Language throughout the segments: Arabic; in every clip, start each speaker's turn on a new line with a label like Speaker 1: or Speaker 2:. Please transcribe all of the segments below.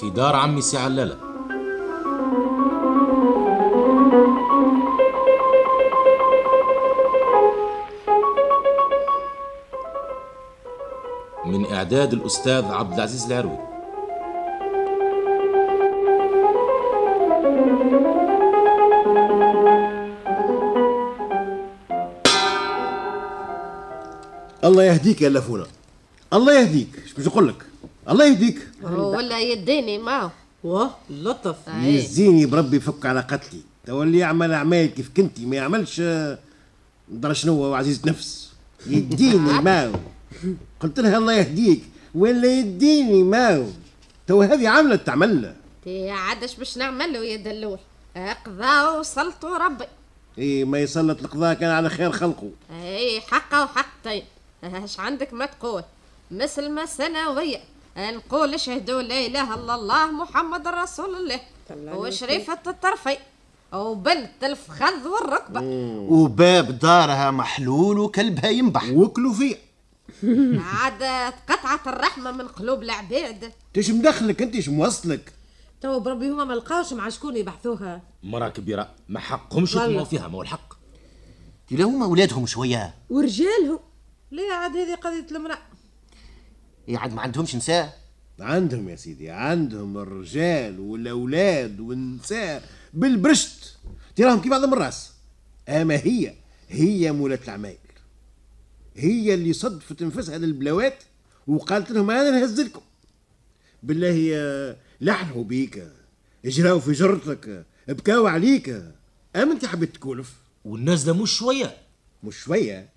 Speaker 1: في دار عمي سي علله من إعداد الأستاذ عبد العزيز العروي
Speaker 2: الله يهديك يا لفونه الله يهديك اش باش نقول لك الله يهديك
Speaker 3: ولا يديني معه
Speaker 4: واه لطف
Speaker 2: يزيني بربي يفك على قتلي تولي يعمل اعمال كيف كنتي ما يعملش آه، درا شنو هو عزيز نفس يديني ماو قلت لها الله يهديك ولا يديني ماو تو هذه عامله تعمل
Speaker 3: تي عادش باش نعمل له يا دلوح اقضى وصلت ربي
Speaker 2: اي ما يسلط القضاء كان على خير خلقه
Speaker 3: اي حقه وحقتين اش عندك ما تقول مثل ما سنوية نقول اشهدوا لا اله الا الله محمد رسول الله
Speaker 4: طلعني
Speaker 3: وشريفة الطرفين وبنت الفخذ والركبة
Speaker 5: وباب دارها محلول وكلبها ينبح
Speaker 2: وكلوا فيه
Speaker 3: عاد تقطعت الرحمة من قلوب العباد
Speaker 2: تش مدخلك انت اش موصلك
Speaker 4: تو بربي هما ما لقاوش مع شكون يبحثوها
Speaker 1: مرة كبيرة ما حقهمش يطمعوا فيها ما هو الحق
Speaker 5: لا هما ولادهم شويه
Speaker 4: ورجالهم لا عاد هذه قضيه المراه
Speaker 5: يعد ما عندهمش نساء
Speaker 2: عندهم يا سيدي عندهم الرجال والاولاد والنساء بالبرشت تراهم كيف عندهم الراس اما هي هي مولات العمايل هي اللي صدفت نفسها للبلاوات وقالت لهم انا نهز لكم بالله آه، لحنوا بيك اجراو في جرتك بكاو عليك اما انت حبيت تكولف
Speaker 1: والنازلة مش شوية
Speaker 2: مش شويه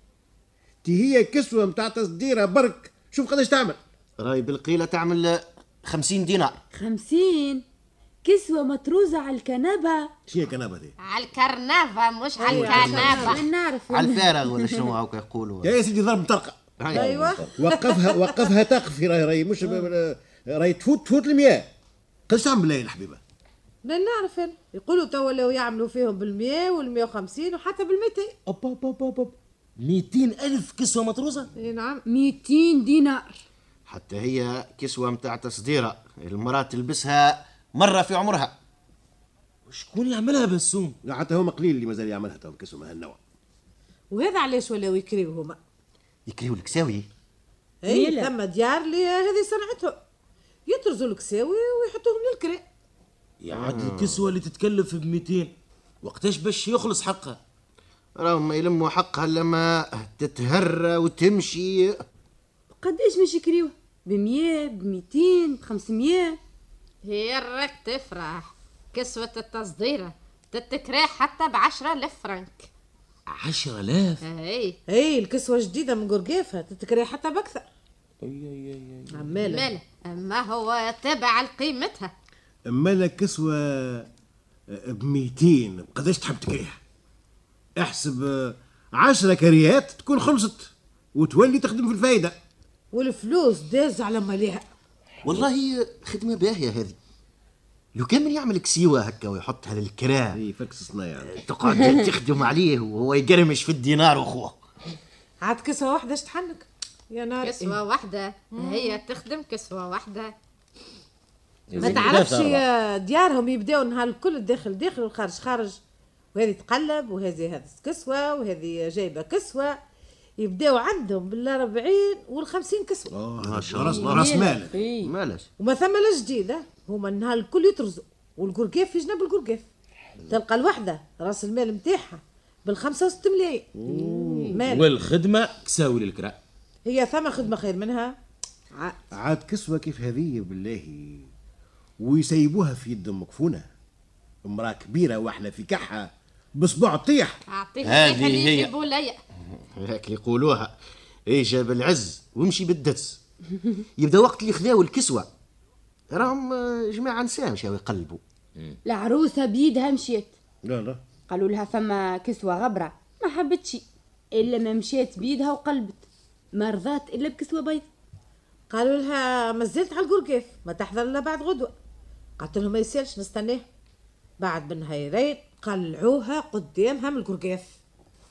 Speaker 2: تي هي كسوه متاع تصديرها برك شوف قداش تعمل
Speaker 5: راي بالقيله تعمل آه، خمسين دينار
Speaker 6: خمسين كسوة مطروزة على الكنبة
Speaker 2: شنو هي الكنبه دي
Speaker 3: على الكرنافة مش على الكنافة
Speaker 6: وين نعرف
Speaker 5: على الفارغ ولا شنو هاكا يقولوا
Speaker 2: يا سيدي ضرب طرقه
Speaker 5: ايوا
Speaker 6: أيوة.
Speaker 2: وقفها وقفها تقفي راهي راهي
Speaker 5: آه.
Speaker 2: مش راهي تفوت تفوت المياه قداش تعمل ليل حبيبه
Speaker 4: لا نعرف أنا. يقولوا تو لو يعملوا فيهم بالمية والمية وخمسين وحتى بالميتين
Speaker 1: أب أب أب أب أب. 200 ألف كسوة مطروزة
Speaker 4: اي نعم
Speaker 6: ميتين دينار
Speaker 5: حتى هي كسوه متاع تصديرها المراه تلبسها مره في عمرها
Speaker 1: شكون يعملها بسوم
Speaker 2: لا، حتى هما قليل اللي مازال يعملها تو كسوه من هالنوع
Speaker 4: وهذا علاش ولاو يكريو هما
Speaker 5: يكريو الكساوي
Speaker 4: اي ثم ديار لي هذه صنعتهم يطرزوا الكساوي ويحطوهم للكري
Speaker 1: يعاد
Speaker 5: آه.
Speaker 1: الكسوة اللي تتكلف ب 200 وقتاش باش يخلص حقها
Speaker 5: راهم يلموا حقها لما تتهرى وتمشي
Speaker 6: قداش مش يكريوه بمية بميتين بخمسمية
Speaker 3: هي الرك تفرح كسوة التصديرة تتكرا حتى بعشرة آلاف فرنك إيه.
Speaker 1: 10000
Speaker 3: اي
Speaker 4: اي إيه، الكسوة جديدة من قرقافها تتكري حتى بأكثر عمالة
Speaker 3: ماله ما هو تابع لقيمتها
Speaker 2: اما لا كسوه ب 200 قداش آه، تحب تكريها احسب آه، عشرة كريات تكون خلصت وتولي تخدم في الفايده
Speaker 4: والفلوس داز على ماليها
Speaker 5: والله خدمه باهيه هذه لو كان من يعمل كسيوه هكا ويحطها للكراه
Speaker 2: اي فكس صنايع
Speaker 5: تقعد تخدم عليه وهو يقرمش في الدينار وخوه
Speaker 4: عاد كسوة واحدة اش تحنك يا نار إيه.
Speaker 3: كسوة واحدة هي تخدم كسوة واحدة
Speaker 4: ما تعرفش يا ديارهم يبداو نهار الكل داخل داخل والخارج خارج وهذه تقلب وهذه هذه كسوة وهذه جايبة كسوة يبداو عندهم بالأربعين والخمسين كسوة
Speaker 2: ما شاء الله راس مالك
Speaker 5: مالاش
Speaker 4: وما ثم لا جديدة هما النهار الكل يطرزوا والقرقاف في جنب القرقاف تلقى الوحدة راس المال متاعها بالخمسة وست ملايين مال
Speaker 1: والخدمة كساوي للكراء
Speaker 4: هي ثم خدمة خير منها ع-
Speaker 2: عاد كسوه كيف هذه بالله ويسيبوها في يد مكفونه امراه كبيره واحلى في كحها بصبع طيح
Speaker 3: أعطيه
Speaker 5: هذه
Speaker 3: الريحة اللي
Speaker 5: هي.
Speaker 3: يجيبوا ليا
Speaker 5: هيك يقولوها إيه، ايجا بالعز وامشي بالدس يبدا وقت اللي خذاو الكسوه راهم آه، جماعه نساء مشاو يقلبوا
Speaker 6: العروسة بيدها مشيت
Speaker 2: لا لا
Speaker 6: قالوا لها فما كسوة غبرة ما حبتش إلا ما مشيت بيدها وقلبت ما رضات إلا بكسوة بيض
Speaker 4: قالوا لها ما زلت على القرقيف ما تحضر الا بعد غدوه قالت لهم ما يسالش نستناه بعد بالنهارين قلعوها قدامها من القرقيف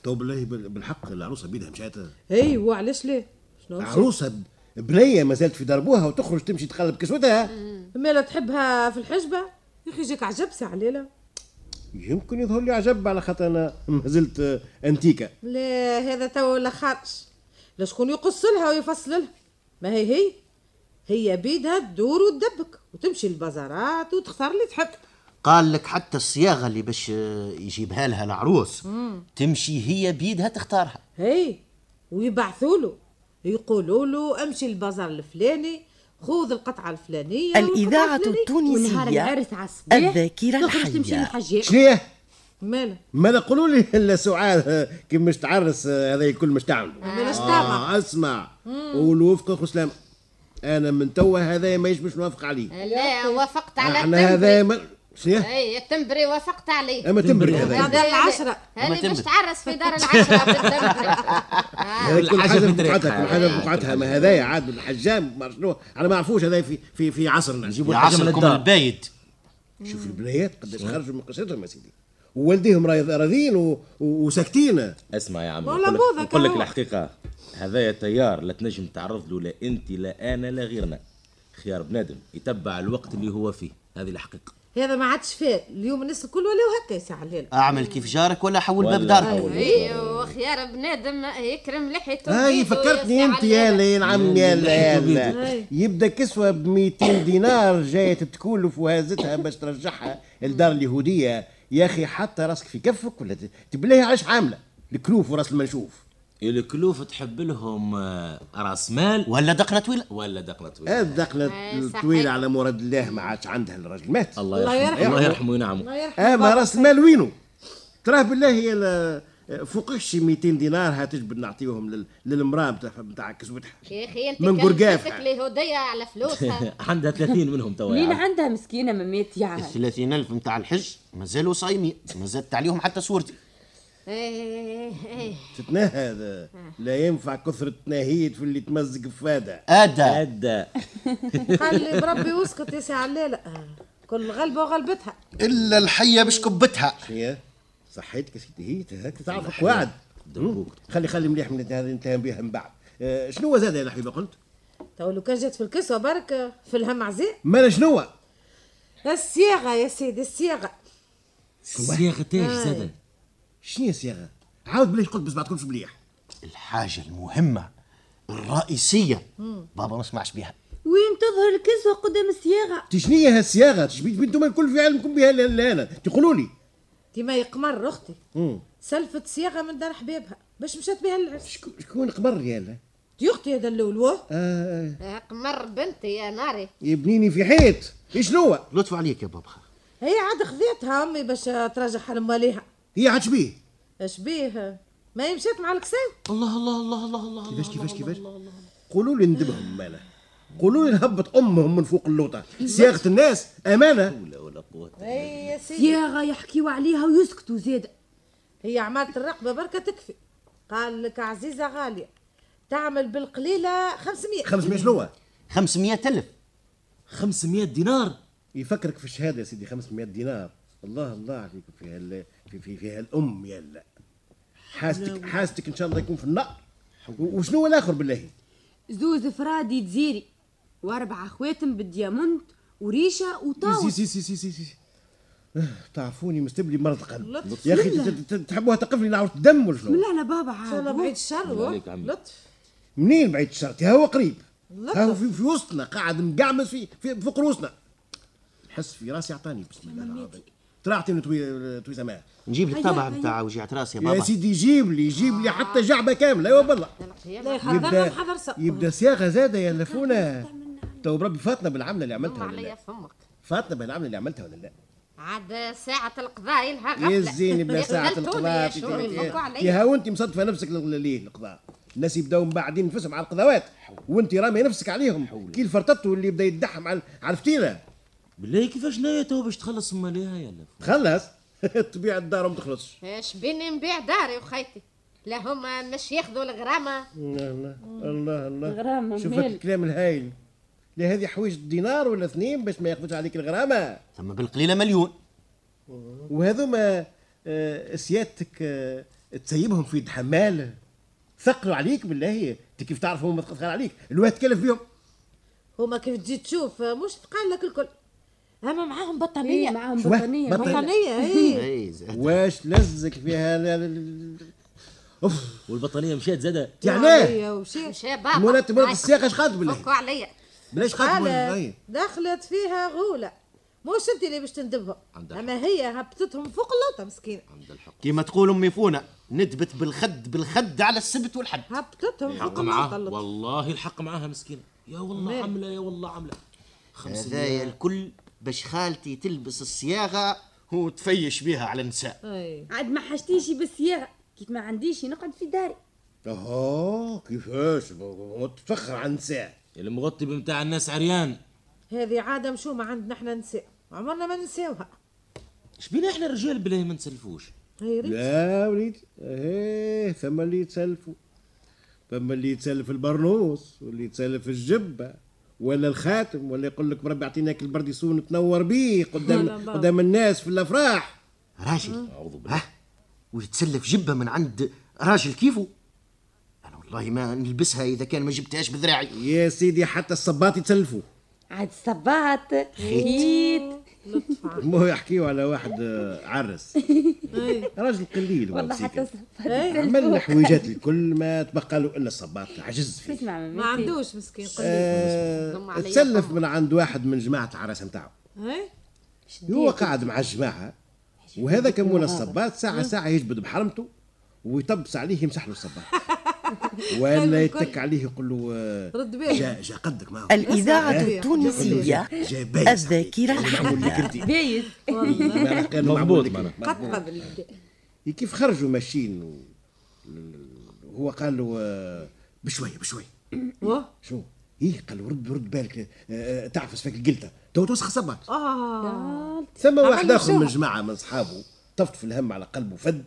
Speaker 2: تو بالله بال- بالحق العروسه بيدها مشات
Speaker 4: اي وعلاش أيوة، ليه شنو مشي؟
Speaker 2: عروسه ب- بنيه ما زالت في دربوها وتخرج تمشي تقلب كسوتها
Speaker 4: مالا تحبها في الحجبه يا اخي جاك عجبسه عليلة
Speaker 2: يمكن يظهر لي عجب على خاطر انا ما زلت آه، انتيكه
Speaker 4: لا هذا تو ولا خارج لا شكون يقص لها ويفصل لها ما هي هي هي بيدها تدور وتدبك وتمشي البازارات وتختار اللي تحب
Speaker 5: قال لك حتى الصياغه اللي باش آه، يجيبها لها العروس تمشي هي بيدها تختارها
Speaker 4: هي ويبعثوا له يقولوا له امشي البازار الفلاني خذ القطعه الفلانيه والقطعة
Speaker 7: الإذاعة
Speaker 4: الفلانية.
Speaker 6: ونهار
Speaker 7: التونسية
Speaker 6: العرس على الصباح
Speaker 7: الذاكرة
Speaker 6: تخرج تمشي
Speaker 7: الحية
Speaker 6: للحجاج
Speaker 2: شنيه
Speaker 4: مالا
Speaker 2: ما نقولوا لي الا سعاد آه، كي مش تعرس آه، هذا الكل مش تعمل
Speaker 4: مالاش تابع
Speaker 2: آه اسمع والوفق اخو سلام انا من توا هذا ماهيش مش موافق عليه
Speaker 3: لا وافقت على
Speaker 2: احنا
Speaker 3: التمبري
Speaker 2: هذا ما- شنيه
Speaker 3: اي التمبري وافقت عليه
Speaker 2: اما تمبري
Speaker 1: تمبري.
Speaker 2: هذا
Speaker 4: دار العشرة.
Speaker 5: أما
Speaker 3: هذه
Speaker 5: تمبري.
Speaker 3: باش تعرس في دار العشرة بالتمبري
Speaker 2: هذا كل
Speaker 1: الحاجة
Speaker 2: حاجه
Speaker 1: في
Speaker 2: بقعتها
Speaker 1: طريقها.
Speaker 2: كل حاجه بقعتها ما هذايا عاد الحجام ما شنو انا ما عرفوش هذايا في في في عصرنا
Speaker 5: يا عصركم البايد
Speaker 2: شوف البنيات قداش خرجوا من قصرتهم يا سيدي ووالديهم راي- راضيين و- و- وساكتين
Speaker 1: اسمع يا عمي
Speaker 4: والله
Speaker 1: نقول لك-
Speaker 4: بوذا
Speaker 1: نقول لك
Speaker 4: كهو.
Speaker 1: الحقيقه هذايا تيار لا تنجم تعرض له لا انت لا انا لا غيرنا خيار بنادم يتبع الوقت اللي هو فيه هذه الحقيقه
Speaker 4: هذا ما عادش فات اليوم الناس الكل ولاو هكا يسعى الليل
Speaker 5: اعمل كيف جارك ولا حول باب
Speaker 1: ولا
Speaker 5: دارك
Speaker 1: حول.
Speaker 3: ايوه خيار بنادم يكرم لحيته
Speaker 2: هاي
Speaker 3: بيده
Speaker 2: فكرتني
Speaker 3: ويصنع
Speaker 2: انت يا
Speaker 3: علينا.
Speaker 2: لين عم يا
Speaker 4: أي.
Speaker 2: لين يبدا كسوه ب 200 دينار جايه تتكولف وهازتها باش ترجعها للدار اليهوديه يا اخي حتى راسك في كفك ولا ت- تبليها عاش عامله الكلوف وراس المنشوف
Speaker 1: الكلوف تحب لهم آه، راس مال
Speaker 5: ولا دقنه طويله
Speaker 1: ولا دقنه طويله
Speaker 2: الدقنة
Speaker 3: أي صحيح.
Speaker 2: الطويله على مراد الله ما عادش عندها الراجل مات
Speaker 1: الله
Speaker 4: الله
Speaker 1: يرحمه
Speaker 4: يرحمه.
Speaker 1: الله يرحمه وينعمه
Speaker 4: الله يرحم
Speaker 2: اما
Speaker 4: بابا.
Speaker 2: راس المال وينو تراه بالله هي لا- فوقش شي 200 دينار هتجبد نعطيهم لل- للمراه بتاع- بتاع كسوتها
Speaker 3: يا اخي انت
Speaker 2: من برقاف.
Speaker 3: كلفتك اليهودية على فلوسها
Speaker 1: عندها 30 منهم توا يا
Speaker 6: لين
Speaker 1: عم.
Speaker 6: عندها مسكينه ما مات يعني
Speaker 5: الثلاثين ألف متاع الحج مازالوا صايمين ما زادت عليهم حتى صورتي
Speaker 3: إيه، إيه.
Speaker 2: تتنهى هذا. لا ينفع كثرة تناهيد في اللي تمزق فاده
Speaker 5: أدا
Speaker 1: أدى
Speaker 4: خلي بربي واسكت يا سعى الليل آه. كل غلبه وغلبتها
Speaker 5: إلا الحية باش كبتها
Speaker 2: هي صحيتك يا سيدي هي هيك تعرفك واعد خلي خلي مليح من هذه نتهم بها من بعد آه، شنو هو زاد يا الحبيبه قلت؟
Speaker 4: تو لو كان جات في الكسوه برك آه، في الهم عزيز
Speaker 2: مالا شنو هو؟
Speaker 4: الصياغه يا سيدي الصياغه
Speaker 1: صياغه ايش زاد
Speaker 2: شنو يا صياغه؟ عاود بلاش قلت بس ما تكونش مليح
Speaker 5: الحاجة المهمة الرئيسية بابا ما سمعش بها
Speaker 6: وين تظهر الكسوه قدام الصياغه
Speaker 2: انت شنو هي هالصياغه؟ تشبيت انتم الكل في علمكم بها لا- لا انا تقولوا لي
Speaker 4: ديما يقمر اختي سلفت صياغه من دار حبيبها باش مشات بها للعرس
Speaker 2: شكو- شكون قمر يا لا؟
Speaker 4: دي اختي هذا الاول واه
Speaker 2: آه
Speaker 3: قمر بنتي يا ناري
Speaker 2: يبنيني في حيط شنو هو؟
Speaker 5: لطف عليك يا بابا
Speaker 4: هي عاد خذيتها امي باش آه، ترجعها لمواليها
Speaker 2: هي عاد شبيه؟
Speaker 4: اش بيه ما هي مشات مع الكساو
Speaker 5: الله الله الله الله الله
Speaker 2: كيفاش كيفاش كيفاش؟ قولوا لي ندبهم مالا قولوا لي نهبط امهم من فوق اللوطه صياغه الناس امانه
Speaker 1: ولا ولا قوه
Speaker 4: اي يا سيدي
Speaker 6: صياغه يحكيوا عليها ويسكتوا زاد
Speaker 4: هي عملت الرقبه بركه تكفي قال لك عزيزه غاليه تعمل بالقليله 500
Speaker 2: 500 شنو هو؟
Speaker 5: 500 ألف
Speaker 1: 500 دينار
Speaker 2: يفكرك في الشهاده يا سيدي 500 دينار الله الله عليك في هال في في, في هالام يا لا حاستك حاستك ان شاء الله يكون في النار و- وشنو هو الاخر بالله
Speaker 6: زوز فرادي تزيري واربع خواتم بالديامونت وريشه
Speaker 2: سي
Speaker 6: وطاوس
Speaker 2: سي سي سي سي, سي. آه، تعرفوني مستبلي مرض قلب
Speaker 4: لطف
Speaker 2: يا اخي ت- ت- ت- تحبوها تقفلي نعرف دم ولا شنو
Speaker 6: لا لا بابا
Speaker 4: ان شاء الله
Speaker 6: عاد
Speaker 4: بعيد الشر واه.
Speaker 1: عليك عمي.
Speaker 4: لطف
Speaker 2: منين بعيد الشر ها هو قريب
Speaker 4: لطف.
Speaker 2: ها هو في, في وسطنا قاعد مقعمس في, في فوق رؤوسنا نحس في راسي اعطاني بسم الله العظيم طلعت من توي توي زمان
Speaker 5: نجيب لك طبعا
Speaker 6: هيا.
Speaker 5: نتاع وجعت راسي يا
Speaker 2: يا
Speaker 5: بابا
Speaker 2: سيدي جيب لي جيب لي حتى أيوة، جعبه كامله ايوا والله يبدا
Speaker 4: لا يحضرنا حضر سق
Speaker 2: يبدا صياغه زاده يا لفونه تو بربي فاتنا بالعمله اللي
Speaker 3: أم
Speaker 2: عملتها ولا
Speaker 3: عليا
Speaker 2: لا
Speaker 3: فمك
Speaker 2: فاتنا بالعمله اللي عملتها ولا لا
Speaker 3: عاد ساعة القضاء لها غفلة
Speaker 2: يا إيه الزين بلا ساعه القضاء
Speaker 3: يا شومي، فكوا عليا.
Speaker 2: يا ها وانت مصدفه نفسك ليه القضاء الناس يبداو من بعدين نفسهم على القضاوات وانت رامي نفسك عليهم كي الفرططو اللي بدا يدحم على على الفتيله
Speaker 1: بالله كيفاش نايا تو باش تخلص من ماليها يا لف
Speaker 2: تخلص طبيعه الدار ما تخلصش
Speaker 3: اش بيني نبيع داري وخيتي لا هما مش ياخذوا الغرامة
Speaker 2: الله نعم، الله الله
Speaker 6: غرامة،
Speaker 2: شوف
Speaker 6: مال.
Speaker 2: الكلام الهايل لا هذه حويج دينار ولا اثنين باش ما ياخذوش عليك الغرامه
Speaker 5: ثم بالقليلة مليون
Speaker 2: وهذوما آه، سيادتك آه، تسيبهم في يد حمال ثقلوا عليك بالله انت كيف تعرف هما ما تقدر عليك الواحد تكلف بيهم
Speaker 4: هما كيف تجي تشوف مش تقال لك الكل هما معاهم
Speaker 6: إيه،
Speaker 4: بطانيه
Speaker 6: معاهم
Speaker 2: شواه؟
Speaker 6: بطانيه
Speaker 2: بطانية.
Speaker 6: بطانية.
Speaker 4: بطانيه
Speaker 2: إيه.
Speaker 4: اي
Speaker 5: اي زهد.
Speaker 2: واش لزك فيها ال- ال- ال-
Speaker 1: والبطانيه مشات زاده
Speaker 4: نعم.
Speaker 2: يعني
Speaker 4: ومشيت
Speaker 3: مش يا بابا
Speaker 2: مولات مرات
Speaker 3: هاي،
Speaker 2: الساقه اش خاطب بالله
Speaker 3: فكوا عليا
Speaker 2: بلاش خاطب
Speaker 4: قال
Speaker 2: بالله
Speaker 4: دخلت فيها غوله مش انت اللي باش تندبهم
Speaker 1: عندها
Speaker 4: اما هي هبطتهم فوق اللوطه مسكينه
Speaker 5: كيما تقول امي فونا ندبت بالخد بالخد على السبت والحد
Speaker 4: هبطتهم فوق
Speaker 1: الحق
Speaker 4: اللوطه
Speaker 1: معاها
Speaker 4: اللوطة.
Speaker 1: والله الحق معاها مسكينه يا والله
Speaker 4: مال.
Speaker 1: عمله يا والله عمله خمس
Speaker 5: هذايا الكل باش خالتي تلبس الصياغه وتفيش بها على النساء
Speaker 4: اي
Speaker 6: عاد ما حشتيش بالصياغه كيف ما عنديش نقعد في داري
Speaker 2: اها كيفاش ب- متفخر عن ساعه
Speaker 1: المغطي بمتاع الناس عريان
Speaker 4: هذه عاده مشومه عندنا احنا نساء عمرنا ما نساوها
Speaker 1: شبينا احنا الرجال بلاه ما نسلفوش
Speaker 4: هي ريت.
Speaker 2: لا وليدي ايه ثم اللي يتسلفوا ثم اللي يتسلف البرنوس واللي يتسلف الجبه ولا الخاتم ولا يقول لك بربي اعطيناك البرديسون تنور بيه قدام قدام الناس في الافراح
Speaker 5: راجل اعوذ بالله ويتسلف جبه من عند راجل كيفه انا والله ما نلبسها اذا كان ما جبتهاش بذراعي
Speaker 2: يا سيدي حتى الصباط يتسلفوا
Speaker 6: عاد الصباط خيط
Speaker 4: لطف عام.
Speaker 2: ما هو يحكيوا على واحد آه، عرس راجل قليل
Speaker 6: والله حتى
Speaker 2: والله
Speaker 6: الصباط
Speaker 2: عمل حويجات الكل ما تبقى له الا الصباط عجز فيه
Speaker 6: اسمع مامي
Speaker 4: ما عندوش مسكين قليل
Speaker 2: آه،
Speaker 3: ضم عليا
Speaker 2: تسلف
Speaker 3: فمه.
Speaker 2: من عند واحد من جماعه العرس نتاعو
Speaker 4: هاي
Speaker 2: هو قاعد مع الجماعه وهذا كمون الصباط ساعه ساعه يجبد بحرمته ويطبس عليه يمسح له الصباط ولا يتك عليه يقول له آه،
Speaker 4: رد بالك.
Speaker 2: جا جا قدك معه
Speaker 7: الإذاعة
Speaker 4: أسمع.
Speaker 7: التونسية
Speaker 2: جا بايس
Speaker 7: الذاكرة
Speaker 2: عليك. معمول لك انت
Speaker 6: بايس
Speaker 1: مضبوط
Speaker 2: معنا
Speaker 1: معناها.
Speaker 4: قطبه
Speaker 2: إيه.
Speaker 4: بالبدا
Speaker 2: كيف خرجوا ماشيين و... هو قال له آه، بشويه بشويه
Speaker 4: واه
Speaker 2: شو ايه قال له رد رد بالك آه، آه، تعفس فيك القلته تو توسخ الصباط
Speaker 4: آه.
Speaker 2: ثم واحد اخر من جماعه من اصحابه طفت في الهم على قلبه فد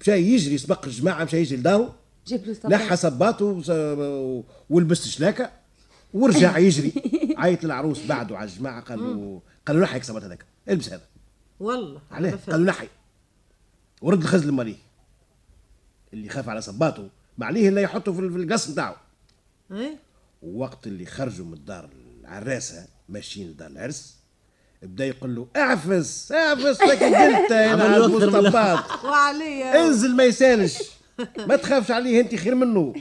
Speaker 2: مشى يجري سبق الجماعه مشى يجري لدارو
Speaker 6: جيب له صباط
Speaker 2: نحى صباطه وس- ولبس شلاكه ورجع يجري عيط للعروس بعده على الجماعه قالوا قالوا نحيك صباط هذاك البس هذا
Speaker 4: والله
Speaker 2: عليه
Speaker 4: ما فهمت.
Speaker 2: قالوا نحي ورد الخزل ماليه اللي خاف على صباطه ما عليه الا يحطه في ال- في القص نتاعو
Speaker 4: هاي
Speaker 2: وقت اللي خرجوا من دار العراسه ماشيين لدار العرس بدا يقول له اعفس اعفس فك انت يا
Speaker 1: عمل له
Speaker 2: العجوز
Speaker 1: أكثر من-
Speaker 2: طباط
Speaker 4: وعليا
Speaker 2: انزل ما يسالش ما تخافش عليه انت خير منه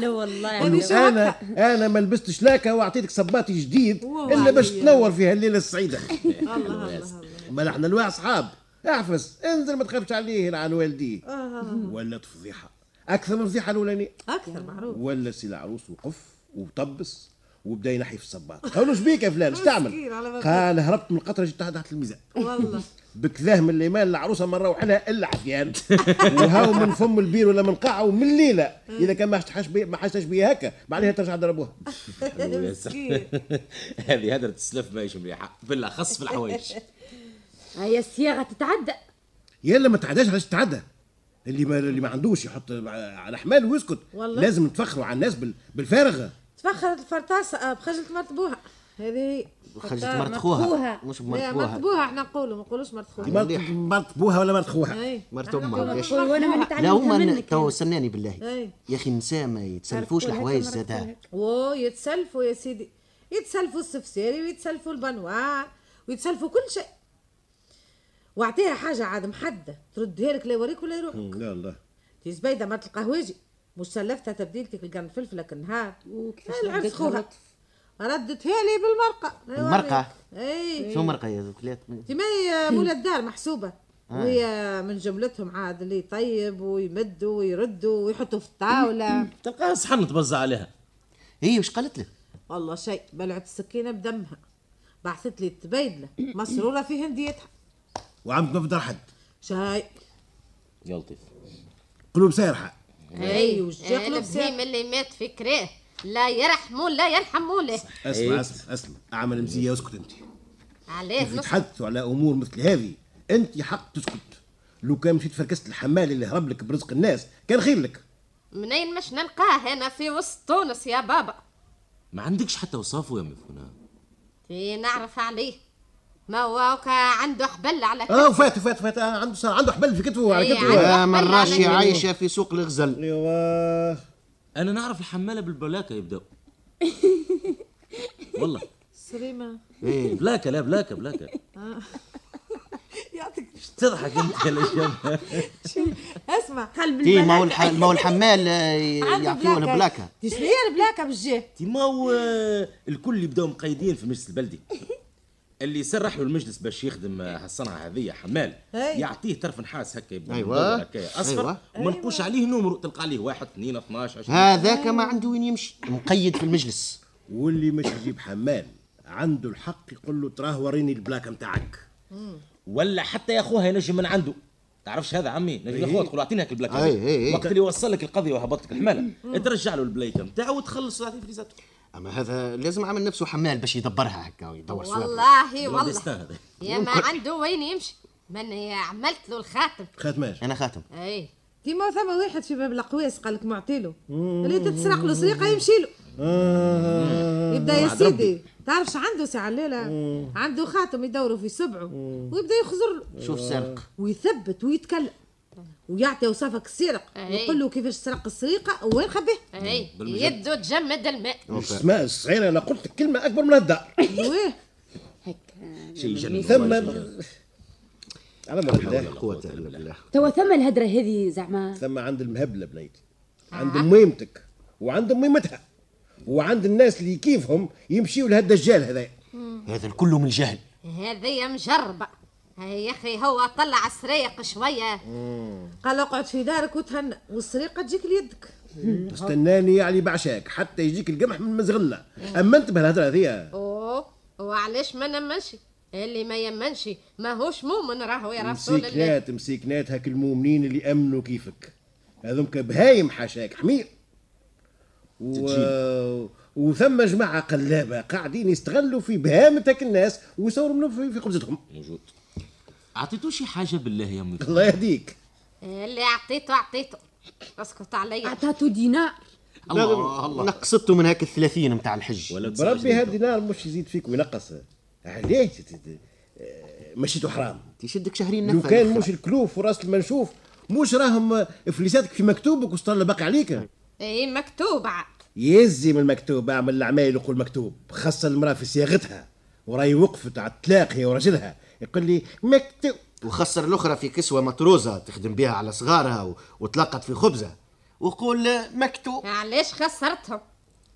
Speaker 6: لا والله
Speaker 2: قال
Speaker 4: يعني
Speaker 2: له،
Speaker 6: يا
Speaker 2: انا انا ما لبستش لاكه واعطيتك صباطي جديد
Speaker 4: واو.
Speaker 2: الا باش تنور فيها الليله السعيده
Speaker 4: الله الله الله
Speaker 2: ما احنا الواع اصحاب اعفس انزل ما تخافش عليه عن والديه
Speaker 4: آه.
Speaker 2: ولات فضيحه اكثر من الفضيحه الاولانيه
Speaker 4: اكثر معروف
Speaker 2: ولا سي العروس وقف وطبس وبدا ينحي في الصباط قالوا له بيك يا فلان اش تعمل
Speaker 4: مسكين على بالك.
Speaker 2: قال هربت من القطره جيت تحت تحت الميزان
Speaker 4: والله
Speaker 2: بكذاه من الايمان العروسه ما نروح لها الا عفيان وهاو من فم البير ولا من قاعه ومن الليله اذا كان ما حشتش بيه ما حشتش بيه هكا بعدها ترجع ضربوها
Speaker 4: مسكين
Speaker 1: هذه هدرة السلف ماهيش مليحه بالاخص في الحوايج
Speaker 6: هيا الصياغه تتعدى
Speaker 2: يا اللي ما تعداش علاش تعدى اللي ما اللي ما عندوش يحط على حمال ويسكت
Speaker 4: والله.
Speaker 2: لازم نتفخروا على الناس بال- بالفارغه
Speaker 4: تفخرت الفرطاسه بخجلة مرت بوها هذه هي
Speaker 5: خرجت مرت
Speaker 6: خوها.
Speaker 5: خوها مش
Speaker 4: لا،
Speaker 5: مرت
Speaker 4: مرت
Speaker 5: بوها
Speaker 4: بوها احنا نقولوا ما نقولوش مرت خوها
Speaker 2: دي مرت
Speaker 5: مليح.
Speaker 2: مرت بوها ولا مرت خوها
Speaker 4: اي
Speaker 5: مرت امها
Speaker 6: قول وانا ما
Speaker 5: لا
Speaker 6: نتعلمها
Speaker 5: هما
Speaker 6: يعني منك
Speaker 5: تو
Speaker 6: أنا.
Speaker 5: استناني بالله
Speaker 4: إيه.
Speaker 5: يا اخي النساء ما يتسلفوش الحوايج زاد
Speaker 4: وو يتسلفوا يا سيدي يتسلفوا السفسيري ويتسلفوا البنوار ويتسلفوا كل شيء واعطيها حاجه عاد محدده تردها لك لا يوريك ولا يروح
Speaker 2: لا الله
Speaker 4: تي زبيده مرت القهوجي مش سلفتها تبديل كيف القرن فلفله كنهار
Speaker 6: وكيفاش
Speaker 4: العرس
Speaker 6: ردتها
Speaker 4: خوها
Speaker 6: لطف.
Speaker 4: ردتها لي بالمرقه لا
Speaker 5: بالمرقة؟
Speaker 4: يوريك. اي
Speaker 5: شو مرقه يا ذوكلات
Speaker 4: تما هي مولى الدار محسوبه
Speaker 7: آه.
Speaker 4: وهي من جملتهم عاد اللي طيب يطيب ويمدوا ويردوا ويحطوا في الطاوله
Speaker 1: تلقاها صحن تبزع عليها
Speaker 5: هي إيه، وش قالت لك؟
Speaker 4: والله شيء بلعت السكينه بدمها بعثت لي التبيدله مسروره في هنديتها
Speaker 2: وعم تنفض حد
Speaker 4: شيء
Speaker 1: يا لطيف
Speaker 2: قلوب سارحه
Speaker 4: اي وجا
Speaker 3: آه،
Speaker 4: قلوب
Speaker 3: البهيم
Speaker 4: ساق.
Speaker 3: اللي مات في كراه لا يرحمه لا يرحمه له
Speaker 2: اسمع اسمع اسمع اعمل مزيه واسكت انت
Speaker 3: عليه
Speaker 2: كيف
Speaker 3: نص
Speaker 2: تحدثوا على امور مثل هذه انت حق تسكت لو كان مشيت فركست الحمال اللي هرب لك برزق الناس كان خير لك
Speaker 3: منين مش نلقاه هنا في وسط تونس يا بابا
Speaker 1: ما عندكش حتى وصافه يا مفهومه
Speaker 3: في نعرف عليه ما هو كا عنده حبل على كتفه.
Speaker 2: اه وفات وفات فات آه، عنده صار عنده حبل في كتفه وعلى
Speaker 3: إيه،
Speaker 2: كتفه
Speaker 3: عنده.
Speaker 5: يا من راشي عايشه في سوق الغزل
Speaker 2: ايوا
Speaker 1: انا نعرف الحماله بالبلاكه يبداو والله
Speaker 4: سليمه
Speaker 5: ايه
Speaker 1: بلاكه لا بلاكه بلاكه
Speaker 4: يعطيك
Speaker 1: تضحك انت يا شباب.
Speaker 4: اسمع
Speaker 6: قلب
Speaker 5: تي إيه، ما هو
Speaker 6: البلاكة.
Speaker 5: الح- ما هو الحمال آه،
Speaker 4: عنده
Speaker 5: يعطيوه البلاكه
Speaker 4: شنو هي البلاكه بالجاه
Speaker 1: تي ما هو الكل يبداو مقيدين في المجلس البلدي اللي سرح له المجلس باش يخدم هالصنعه هذه حمال
Speaker 4: أي.
Speaker 1: يعطيه طرف نحاس هكا يبدا
Speaker 5: أيوة.
Speaker 1: مدور هكا اصفر
Speaker 5: أيوة.
Speaker 1: ومنقوش عليه نمره تلقى عليه واحد اثنين 12 20
Speaker 5: هذاك ما عنده وين يمشي مقيد في المجلس
Speaker 2: واللي مش يجيب حمال عنده الحق يقول له تراه وريني البلاكه نتاعك
Speaker 1: ولا حتى يا اخوها ينجم من عنده تعرفش هذا عمي نجم
Speaker 5: إيه.
Speaker 1: يا اخوها تقول اعطيني هاك البلاك
Speaker 5: أي، أي، أي.
Speaker 1: وقت اللي وصل لك القضيه وهبط لك الحماله ترجع له البلايكه نتاعو وتخلص تعطيه فليزاتو
Speaker 5: اما هذا لازم عمل نفسه حمال باش يدبرها هكا ويدور سواقها
Speaker 3: والله
Speaker 1: ديستان
Speaker 3: والله
Speaker 1: هذا
Speaker 3: يا ما عنده وين يمشي من هي عملت له إيه، الخاتم
Speaker 2: خاتماش
Speaker 5: انا خاتم
Speaker 3: اي
Speaker 4: كيما ثما واحد في باب القواس قال لك معطيله اللي تتسرق له سرقه يمشي له
Speaker 5: آه.
Speaker 4: يبدا يا
Speaker 1: وعد ربي.
Speaker 4: سيدي تعرف شو عنده ساعه الليله عنده خاتم يدوروا في سبعه ويبدا يخزر له
Speaker 5: شوف سرق
Speaker 4: ويثبت ويتكلم ويعطي اوصافك السرق
Speaker 3: أي.
Speaker 4: ويقول له كيفاش سرق السرقه وين خبيه
Speaker 3: اي يده إيه. تجمد الماء
Speaker 2: اسمع الصغير انا قلت لك كلمه اكبر من الدار
Speaker 4: ويه
Speaker 6: هكا
Speaker 1: شيء يجنن
Speaker 2: ثم
Speaker 1: والله يجنن.
Speaker 2: على ما بالله
Speaker 5: قوة الا بالله
Speaker 6: توا ثم الهدره هذه زعما
Speaker 2: ثم عند المهبله بنيتي عند ميمتك وعند ميمتها وعند الناس اللي كيفهم يمشيوا لهذا الدجال هذايا
Speaker 5: هذا الكل من الجهل
Speaker 3: هذه مجربه هاي يا اخي هو طلع السريق شويه
Speaker 4: قال له اقعد في دارك وتهنى والسرقه تجيك ليدك
Speaker 2: استناني يعني بعشاك حتى يجيك القمح من مزغلنا اما انتبه الهدره هذيا
Speaker 3: اوه وعلاش ما نمنش اللي ما يمنش ماهوش مؤمن راهو يا رسول الله
Speaker 2: مسيكنات مسيكنات هاك المؤمنين اللي امنوا كيفك هذوك بهايم حاشاك حمير و... وثم جماعه قلابه قاعدين يستغلوا في بهامه هاك الناس ويصوروا منهم في- في خبزتهم
Speaker 1: موجود اعطيتو شي حاجه بالله يا امي
Speaker 2: الله يهديك
Speaker 3: اللي اعطيته اعطيته اسكت عليا
Speaker 6: عطاتو دينار
Speaker 5: الله الله نقصته من هاك الثلاثين نتاع الحج
Speaker 1: ولا تسمع
Speaker 2: بربي
Speaker 1: شنو
Speaker 2: هاد الدينار مش يزيد فيك وينقص علاش تت- آه، مشيتو حرام
Speaker 5: تشدك شهرين
Speaker 2: لو
Speaker 5: نفع
Speaker 2: كان مش الكلوف وراس المنشوف مش راهم فليساتك في مكتوبك وسط الله باقي عليك
Speaker 3: اي إيه، مكتوب عاد
Speaker 2: يزي من المكتوب اعمل العمايل وقول مكتوب خاصة المرأة في صياغتها وراي وقفت على الطلاق هي وراجلها يقول لي مكتوب
Speaker 5: وخسر الاخرى في كسوه مطروزه تخدم بها على صغارها و... وتلقت في خبزه وقول مكتوب
Speaker 3: علاش خسرتهم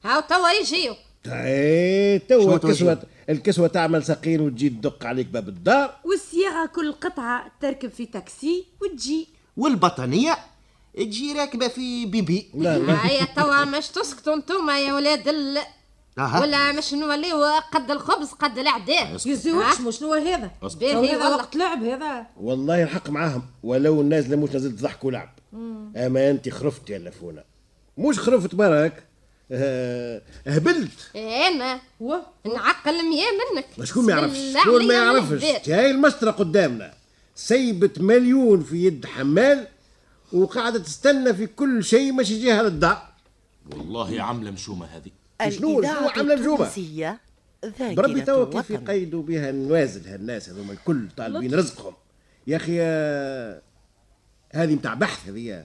Speaker 3: هاو توا يجيو
Speaker 2: اي توا
Speaker 5: شنو توجه؟
Speaker 2: طيب، الكسوة الكسوة تعمل سقين وتجي تدق عليك باب الدار
Speaker 6: والصياغه كل قطعه تركب في تاكسي وتجي
Speaker 5: والبطانيه تجي راكبه في بيبي
Speaker 2: لا لا
Speaker 3: هيا توا مش تسكتوا انتوما يا ولاد ال
Speaker 5: أها.
Speaker 3: ولا مش نوليو قد الخبز قد العداء
Speaker 4: يزيوكش مش شنو هذا
Speaker 3: باهي
Speaker 4: تو هذا
Speaker 3: والله
Speaker 4: وقت لعب هذا
Speaker 2: والله الحق معاهم ولو الناس لموش نزلت ضحك ولعب اما انت خرفت يا لفونة مش خرفت برك آه، هبلت
Speaker 3: انا
Speaker 4: هو
Speaker 3: نعقل مياه منك
Speaker 2: شكون ما
Speaker 3: بسم
Speaker 2: يعرفش
Speaker 3: الله
Speaker 2: شكون ما
Speaker 3: عليا
Speaker 2: يعرفش
Speaker 3: والعباد.
Speaker 2: هاي المسطره قدامنا سيبت مليون في يد حمال وقاعده تستنى في كل شيء مش يجيها للدار
Speaker 1: والله عامله مشومه هذه
Speaker 2: شنو- شنو
Speaker 7: الإذاعة
Speaker 2: عاملة الجوبة؟
Speaker 7: التونسية ذاكرة
Speaker 2: بربي توا كيف
Speaker 7: الوطن.
Speaker 2: يقيدوا بها النوازل هالناس هذوما الكل طالبين رزقهم يا اخي آه، هذه متاع بحث هذه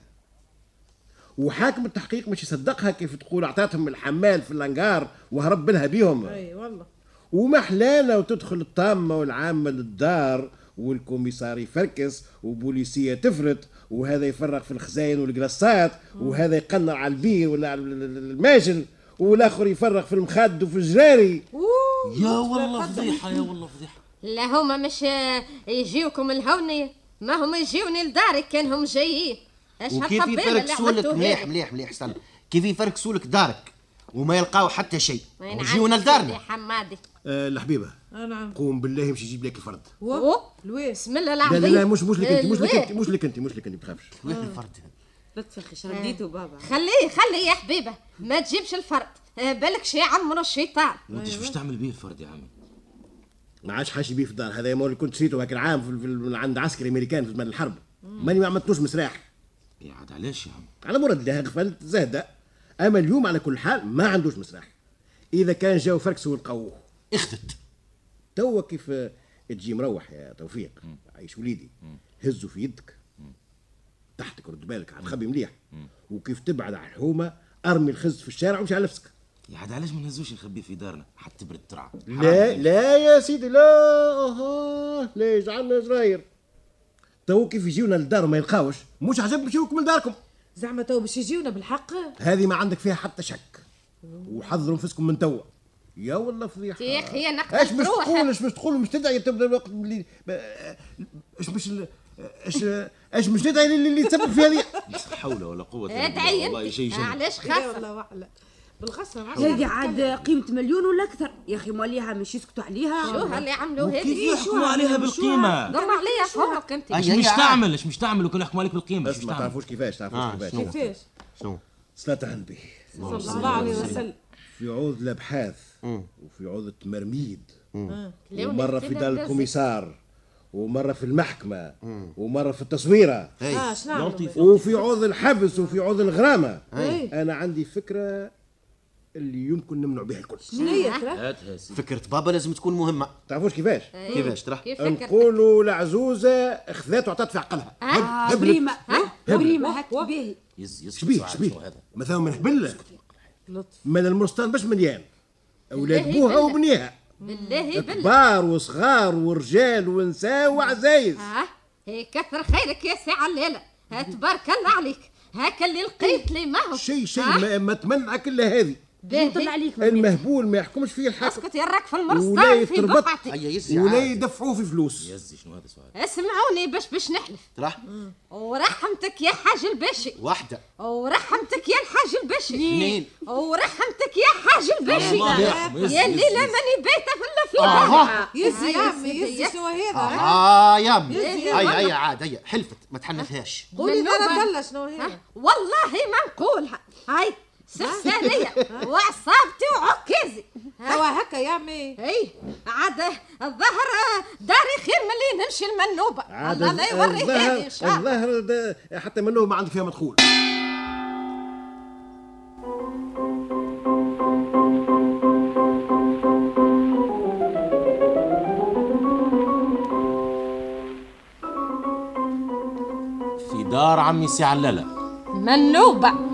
Speaker 2: وحاكم التحقيق مش يصدقها كيف تقول اعطاتهم الحمال في الانقار وهرب لها بيهم
Speaker 4: اي والله
Speaker 2: وما حلانا وتدخل الطامة والعامة للدار والكوميسار يفركس وبوليسية تفرط وهذا يفرغ في الخزاين والقلاصات وهذا يقنر على البير ولا على الماجل والاخر يفرغ في المخد وفي الجراري
Speaker 1: يا والله فضيحه يا والله فضيحه
Speaker 3: لا هما مش آه، يجيوكم الهوني ما هم يجيوني لداري كان هم جايين اش
Speaker 5: وكيف
Speaker 3: هالقبيله اللي
Speaker 5: يفركسوا لك
Speaker 3: عملتوها
Speaker 5: مليح
Speaker 3: لي؟
Speaker 5: مليح مليح استنى كيف يفركسوا لك دارك وما يلقاو حتى شيء
Speaker 3: وين
Speaker 5: ويجيونا
Speaker 3: عندك نعم. يا
Speaker 5: لدارنا
Speaker 3: حمادي
Speaker 2: آه الحبيبه
Speaker 4: آه نعم
Speaker 2: قوم بالله مش يجيب لك الفرد
Speaker 4: هو
Speaker 3: أوه.
Speaker 4: لويس
Speaker 3: بسم الله
Speaker 2: لا
Speaker 3: العظيم
Speaker 2: لا لا مش مش لك انت مش لك
Speaker 3: الواد.
Speaker 2: انت مش لك انت مش لك انت ما تخافش
Speaker 5: وين الفرد هذا؟
Speaker 4: لا تفخش رديته بابا
Speaker 3: خليه خليه يا حبيبه ما تجيبش الفرد آه، بالك شي عمره الشيطان
Speaker 1: وانت واش تعمل بيه الفرد يا عمي
Speaker 2: ما عادش حاش بيه في الدار هذا يا اللي كنت شريته هاك العام في في- من عند عسكري امريكان في زمن الحرب ماني ما عملتوش مسراح
Speaker 1: يا عاد علاش يا عمي
Speaker 2: على مراد الله غفلت زهدة اما اليوم على كل حال ما عندوش مسرح اذا كان جاو فركسوا ولقوه
Speaker 5: اخذت
Speaker 2: توا كيف آه، تجي مروح يا توفيق عيش وليدي هزوا في يدك تحتك رد بالك على الخبي مليح وكيف تبعد على الحومه ارمي الخز في الشارع ومش على نفسك
Speaker 1: يا عاد علاش ما نهزوش نخبيه في دارنا حتى برد ترعى
Speaker 2: لا لا يا سيدي لا اها لا يجعلنا جراير تو كيف يجيونا للدار وما يلقاوش مش عجب مشيوكم لداركم
Speaker 4: زعما تو باش يجيونا بالحق
Speaker 2: هذه ما عندك فيها حتى شك وحضروا انفسكم من توا يا والله فضيحه
Speaker 3: يا أخي، أنا قتلت
Speaker 2: اش باش
Speaker 3: روحي.
Speaker 2: تقول اش باش تقول مش تدعي تبدا الوقت اللي اش باش اش اش مش ندعي اللي اللي تسبب في هذه
Speaker 1: لا حول ولا قوه إلا
Speaker 2: يعني
Speaker 1: بالله،
Speaker 3: ادعي
Speaker 1: والله شيء
Speaker 3: انت
Speaker 1: جنن
Speaker 3: علاش
Speaker 4: لا
Speaker 3: خاف
Speaker 4: إيه والله وعلا بالغصه
Speaker 6: هذه عاد قيمة مليون ولا أكثر يا أخي موليها مش يسكتوا عليها
Speaker 3: شو اللي عملوا
Speaker 1: كيف
Speaker 3: هذه إيه؟
Speaker 1: يحكموا عليها بالقيمه
Speaker 3: دور عليا فمك انت
Speaker 1: اش مش تعمل اش مش تعمل وكان يحكموا عليك بالقيمه اش مش
Speaker 2: ما
Speaker 1: تعمل
Speaker 2: تعرفوش كيفاش تعرفوش
Speaker 5: آه،
Speaker 2: كيفاش
Speaker 5: شنو؟
Speaker 4: كيفاش
Speaker 5: شنو
Speaker 2: صلاة على النبي
Speaker 4: صلى الله عليه وسلم
Speaker 2: في عوض الابحاث وفي عوض التمرميد
Speaker 3: لو
Speaker 2: ومره في
Speaker 3: نكتب
Speaker 2: دار
Speaker 3: درسك.
Speaker 2: الكوميسار ومره في المحكمه ومره في التصويره
Speaker 4: اه
Speaker 5: هاي
Speaker 4: شنو نعملوا؟
Speaker 2: وفي عوض الحبس وفي عوض الغرامه
Speaker 4: أي.
Speaker 2: انا عندي فكره اللي يمكن نمنع بها الكل
Speaker 4: شنو هي ترى؟
Speaker 1: هاتها سيدي
Speaker 5: فكرة بابا لازم تكون مهمة
Speaker 2: تعرفوش كيفاش
Speaker 5: كيفاش ترى
Speaker 3: كيف فكرت
Speaker 2: نقولوا العزوزه خذات وعطات في عقلها هب-
Speaker 6: آه
Speaker 2: هبلت.
Speaker 6: بريمة ها بريمة هك باهي
Speaker 1: يز يز
Speaker 2: شبيه
Speaker 1: ساعة شنو
Speaker 2: شبيه
Speaker 1: هذا
Speaker 2: مثلا من حبله
Speaker 4: لطف
Speaker 2: من المرستان باش مليان اولاد
Speaker 3: بالله
Speaker 2: بوها
Speaker 3: بالله.
Speaker 2: وبنيها
Speaker 3: بالله بالله
Speaker 2: كبار وصغار ورجال ونساء وعزايز
Speaker 3: اه هي كثر خيرك يا سي علالة ها تبارك الله عليك هاك اللي لقيت لي معه
Speaker 2: شيء شيء ما, ما تمنعك الا هذه
Speaker 6: نطلع
Speaker 3: باهي
Speaker 6: عليك مامي.
Speaker 2: المهبول ما يحكمش فيه الحق
Speaker 3: اسكت يا راك في
Speaker 2: ولا
Speaker 3: المرصاد في
Speaker 2: يتربط.
Speaker 3: بقعتي
Speaker 5: هيا يسي
Speaker 2: ولا
Speaker 5: عاد.
Speaker 2: يدفعوه في فلوس
Speaker 1: يز شنو هذا سؤال
Speaker 3: اسمعوني باش باش نحلف
Speaker 5: راح
Speaker 3: ورحمتك يا حاج الباشي
Speaker 5: واحدة
Speaker 3: ورحمتك يا الحاج الباشي
Speaker 5: اثنين.
Speaker 3: ورحمتك يا حاج الباشي
Speaker 1: الله يرحمه، يس-
Speaker 3: يا
Speaker 1: يس-
Speaker 3: الليله
Speaker 1: يس.
Speaker 3: ماني بايته في الافلام
Speaker 5: اها
Speaker 4: يزي
Speaker 3: هاي
Speaker 4: يا آه. عمي
Speaker 3: يزي،
Speaker 4: يزي
Speaker 3: يزي.
Speaker 4: شنو هذا؟
Speaker 5: اها آه، يا امي
Speaker 4: يزي.
Speaker 5: هيا هيا عاد هيا حلفت ما تحنفهاش
Speaker 4: قولي
Speaker 3: من
Speaker 4: دار
Speaker 3: نوبة.
Speaker 4: دلة شنو هي؟
Speaker 3: ها؟ والله ما نقولها هاي سرسانية وعصابتي وعكازي
Speaker 4: توا هكا يا عمي
Speaker 3: اي عاد الظهر داري خير من اللي نمشي المنوبة
Speaker 2: عاد
Speaker 3: الله لا يوري هذه
Speaker 2: الظهر
Speaker 3: ان شاء الله
Speaker 2: الظهر ده حتى منه ما عندك فيها مدخول
Speaker 1: في دار عمي سي علاله
Speaker 3: منوبة